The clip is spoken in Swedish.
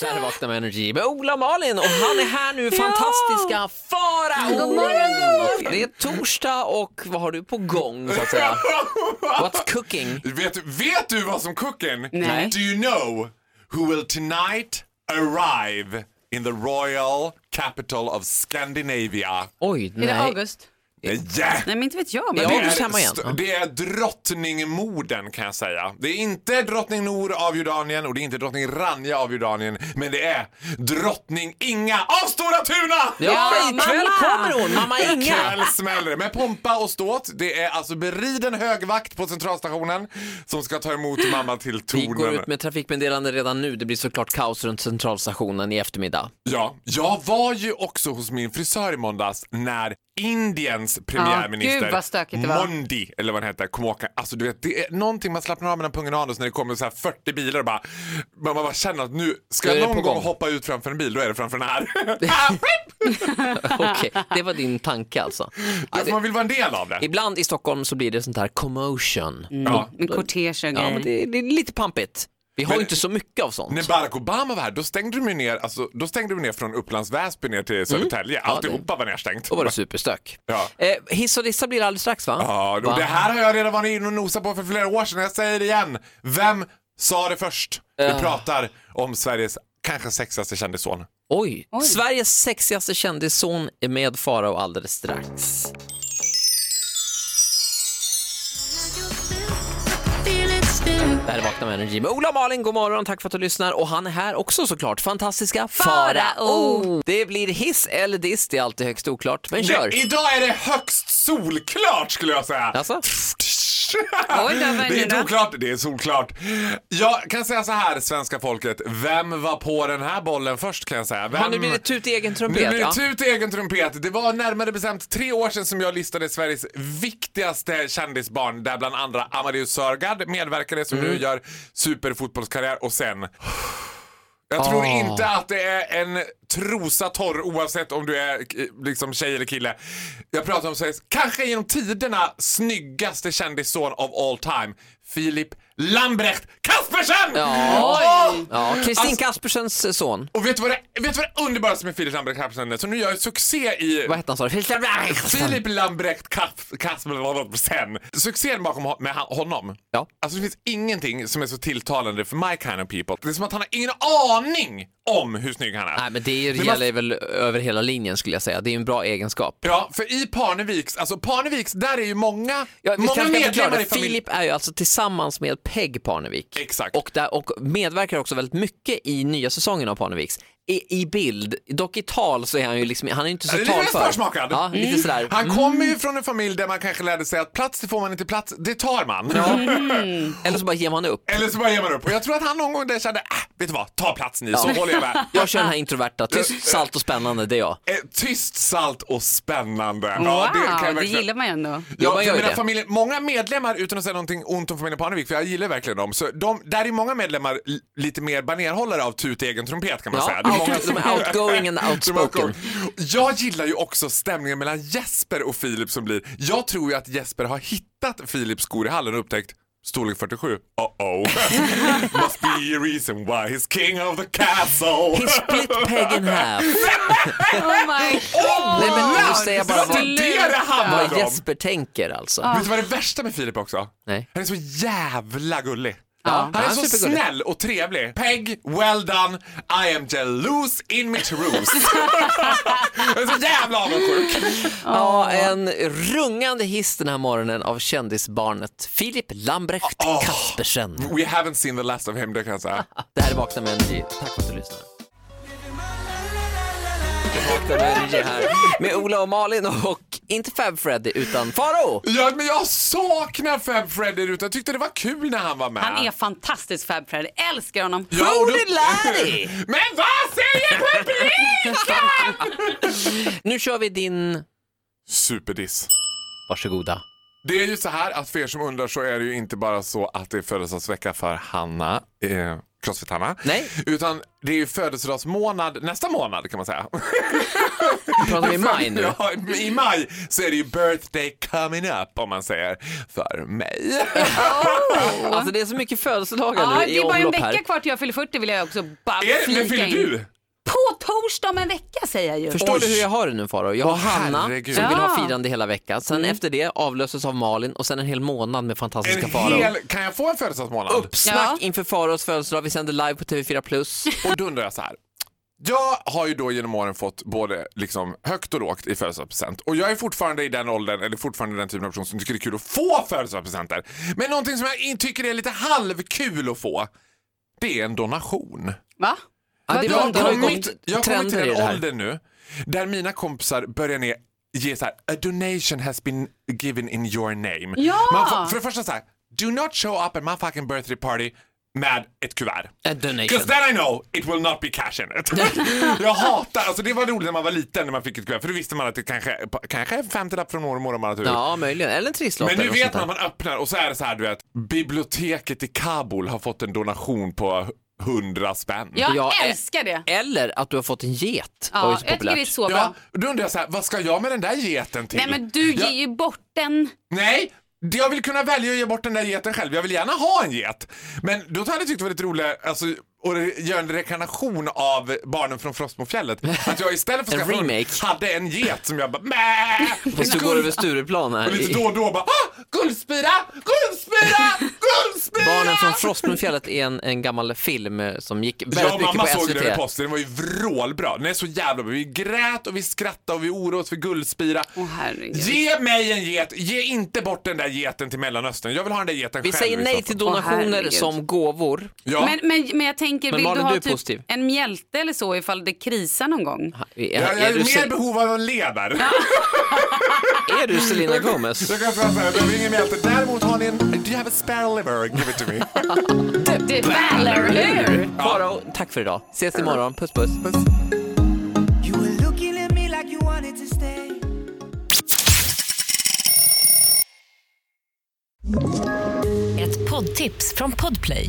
Det här är Vakna med Energy med Ola och Malin och han är här nu, fantastiska Farao! God morgon, god morgon. Det är torsdag och vad har du på gång så att säga? What's cooking? Vet, du- vet du vad som kucken? Nej. Do you know who will tonight arrive in the royal capital of Scandinavia? Oj, Är det nej. August? Yeah. Nej, men inte vet jag. Men Ja. Det August hemma är, igen. Ja. st- det är drottningmorden kan jag säga. Det är inte drottning Nour av Jordanien och det är inte drottning Rania av Jordanien. Men det är drottning Inga av Stora Tuna! Ja, Ja, ikväll mamma! kommer hon, mamma Inga. Ikväll smäller det. Med pompa och ståt. Det är alltså beriden högvakt på centralstationen som ska ta emot mamma till Vi går tornen. ut med trafikmeddelande redan nu. Det blir såklart kaos runt centralstationen i eftermiddag. Ja, jag var ju också hos min frisör i måndags när Indiens Ja, gud premiärminister vad stökigt det var. Mondi, eller vad han heter, kom åka. Alltså du vet, det är någonting man slappnar av mellan pungen och anus när det kommer så här 40 bilar och bara, man bara känner att nu, ska Då är jag det på någon gång gång. hoppa ut framför en bil, då är det framför den här. Okej, det var din tanke alltså. Ja, Alltså, det, man vill vara en del av det. ibland i Stockholm så blir det sånt här commotion. Mm. Ja. Med kortege och Ja, men grejer. det, det är lite pampigt. Vi har ju Men- inte så mycket av sånt. När Barack Obama var här, då stängde de ju ner, alltså, då stängde de ner från Upplands Väsby ner Mm. till Södertälje. Alltihopa var nerstängt. Då var det superstök. Ja. Eh, hiss och dissa blir det alldeles strax va? Ja, och Va? det här har jag redan varit inne och nosat på för flera år sedan. Jag säger det igen. Vem sa det först? Vi Eh. pratar om Sveriges kanske sexigaste kändisson. Oj. Oj. Sveriges sexigaste kändisson är med Farao alldeles strax. Det här är Vakna med Energy med Ola och Malin. God morgon, tack för att du lyssnar. Och han är här också såklart. Fantastiska Farao. Farao. Det blir hiss eller diss, det är alltid högst oklart. Men kör. Det, idag är det högst solklart skulle jag säga. Alltså? Oj, där var den det är inte då. oklart, det är solklart. Jag kan säga så här, svenska folket. Vem var på den här bollen först kan jag säga? Vem... Har ni blivit tut i egen trumpet? Mm. Nu blir det ja. tut i egen trumpet. Det var närmare bestämt tre år sedan som jag listade Sveriges viktigaste kändisbarn där bland andra Amadeus Sörgard medverkade som Mm. nu gör superfotbollskarriär och sen jag tror Ah. inte att det är en trosa torr oavsett om du är eh, liksom tjej eller kille. Jag pratar om Sveriges, kanske genom tiderna, snyggaste kändisson of all time. Filip Lambrecht Kaspersen! Ja. Åh! Ja, Kristin Alltså- Kaspersens son. Och vet du vad det, vet du vad det underbaraste med Filip Lambrecht Kaspersen är? Som nu gör succé i... Vad hette han sa du? Filip Lambrecht Kas- Kaspersen. Succén bakom ho- med han- honom. Ja. Alltså det finns ingenting som är så tilltalande för my kind of people. Det är som att han har ingen aning om hur snygg han är. Nej, men det är ju- Men gäller väl över hela linjen skulle jag säga. Det är ju en bra egenskap. Ja, för i Parneviks, alltså Parneviks, där är ju många, Ja, vi många kanske kan förklara medlemmar det. i familjen. Filip är ju alltså tillsammans med Peg Parnevik. Exakt. Och, där, och medverkar också väldigt mycket i nya säsongen av Parneviks. I, I bild, dock i tal så är han ju liksom, han är ju inte så Ja, det är lite talför. försmakad. Mm. Ja, lite sådär. Han kommer Mm. ju från en familj där man kanske lärde sig att plats det får man inte, plats det tar man. Eller så bara ger man upp. Eller så bara ger man upp. Och jag tror att han någon gång där kände, äh, vet du vad, ta plats ni så håller jag med. Jag kör den här introverta, tyst, salt och spännande, det är jag. Eh, Tyst, salt och spännande. Wow, det, verkligen- gillar man ju ändå. Ja, man Ja, gör ju för mina det. familjer, många medlemmar, utan att säga någonting ont om familjen Parnevik, för jag gillar verkligen dem. Så de, där är många medlemmar li- lite mer banerhållare av tut i egen trumpet kan man Ja, säga. Det är många out, de som- är outgoing and som har koll. outspoken. Jag gillar ju också stämningen mellan Jesper och Filip som blir. Jag tror ju att Jesper har hittat Filips skor i hallen och upptäckt storlek 47. Uh-oh. Must be a reason why he's king of the He castle. split Peg in half. Oh my god! Nej, men nu säger jag bara Det är det det handlar om. Vad Jesper tänker alltså. Vet du vad det värsta med Filip också? Nej. Han är så jävla gullig. Ja, Han är så supergullig. snäll och trevlig. Peg, well done. I am jealous in my truth. Jag är så jävla avundsjuk. Ja, en rungande hiss den här morgonen av kändisbarnet Filip Lambrecht Ah, Åh. Kaspersen. We haven't seen the last of him, det kan jag säga. Det här är Vakna med Energy. Tack för att du lyssnar. Vakna med Energy här med Ola och Malin och inte Fab Freddy utan Faro. Ja, men jag saknar Fab Freddy Ruta. Jag tyckte det var kul när han var med. Han är fantastisk Fab Freddy. Älskar honom. Ja, och då- Holy Larry! Men vad säger publiken? Nu kör vi din... Superdiss. Varsågoda. Det är ju så här att för er som undrar så är det ju inte bara så att det är födelsedagsvecka för Hanna. Eh, Crossfit-Hanna. Nej. Utan det är ju födelsedagsmånad nästa månad kan man säga. Pratar vi i maj nu? Ja, I maj så är det ju birthday coming up om man säger för mig. Alltså det är så mycket födelsedagar Ja, nu det i är bara en omlopp vecka här. kvar till jag fyller 40 vill jag också bara Är, när flika fyller in. du? På torsdag om en vecka säger jag ju. Förstår Oj. du hur jag har det nu Faro? Jag har Åh, Hanna herregud. som vill ha Ja. firande hela veckan. Sen efter det avlöses av Malin och sen en hel månad med fantastiska En Faro. hel, kan jag få en födelsedagsmånad? Uppsnack Ja. inför Faros födelsedag. Vi sänder live på TV4 Plus. Och då undrar jag så här. Jag har ju då genom åren fått både liksom högt och lågt i födelsedagspresent. Och jag är fortfarande i den åldern, eller fortfarande den typen av person som tycker det är kul att få födelsedagspresenter. Men någonting som jag in- tycker är lite halvkul att få, det är en donation. Va? Ja, det Vadå? var- Jag det har har ju gått kommit, jag har kommit till trender i det en här. ålder nu där mina kompisar börjar ner, ge så här, a donation has been given in your name. Ja! Man får, för det första så här, do not show up at my fucking birthday party med ett kuvert. A Äh, donation. Because then I know it will not be cash in it. jag hatar, alltså det var roligt när man var liten när man fick ett kuvert för då visste man att det kanske, kanske är en femtiolapp från mormor om man har tur. Ja, möjligen. Eller en trisslott. Men nu eller något vet sånt där. man, man öppnar och så är det så här du vet, biblioteket i Kabul har fått en donation på 100 spänn. Jag, Jag är- älskar det. Eller att du har fått en get. Ja, eh, Oj, jag så tycker det är populärt. så bra. Ja, då undrar jag så här, vad ska jag med den där geten till? Nej men du jag, ger ju bort den. Nej, det- jag vill kunna välja att ge bort den där geten själv. Jag vill gärna ha en get. Men då hade jag tyckt det var lite roligt alltså, att göra en rekarnation av Barnen från Frostmofjället. Att jag istället för En att skaffa hund remake. hade en get som jag bara Mäh! Fast du Guld- går över Stureplan här. Och lite i- då och då bara ah, Guldspira! Guldspira! Guldspira! Barnen från Frostmofjället är en, en gammal film eh, som gick väldigt Jag och mycket mamma på såg den SVT. i posten, den var ju vrålbra. Den är så jävla bra. Vi grät och vi skrattade och vi oroade oss för Guldspira. Åh herregud. Ge mig en get! Ge inte bort den där geten till Mellanöstern. Jag vill ha den där geten Vi själv. liksom. säger i nej så till fall. Åh, donationer herregud. som gåvor. Ja. Men, men, men jag tänker, Men vill Malin, du ha du är typ positiv. en mjälte eller så ifall det krisar någon gång? Är, jag, jag är, är du, mer Se- behov av en lever. är du Selena Gomez? Jag kan säga så här, jag behöver ingen mjälte. Däremot har ni en... Do you have a spare liver? Give it to me. Det är hur? Faro, tack för idag. Ses imorgon. Puss puss. You were looking at me like you wanted to stay. Ett poddtips från Podplay.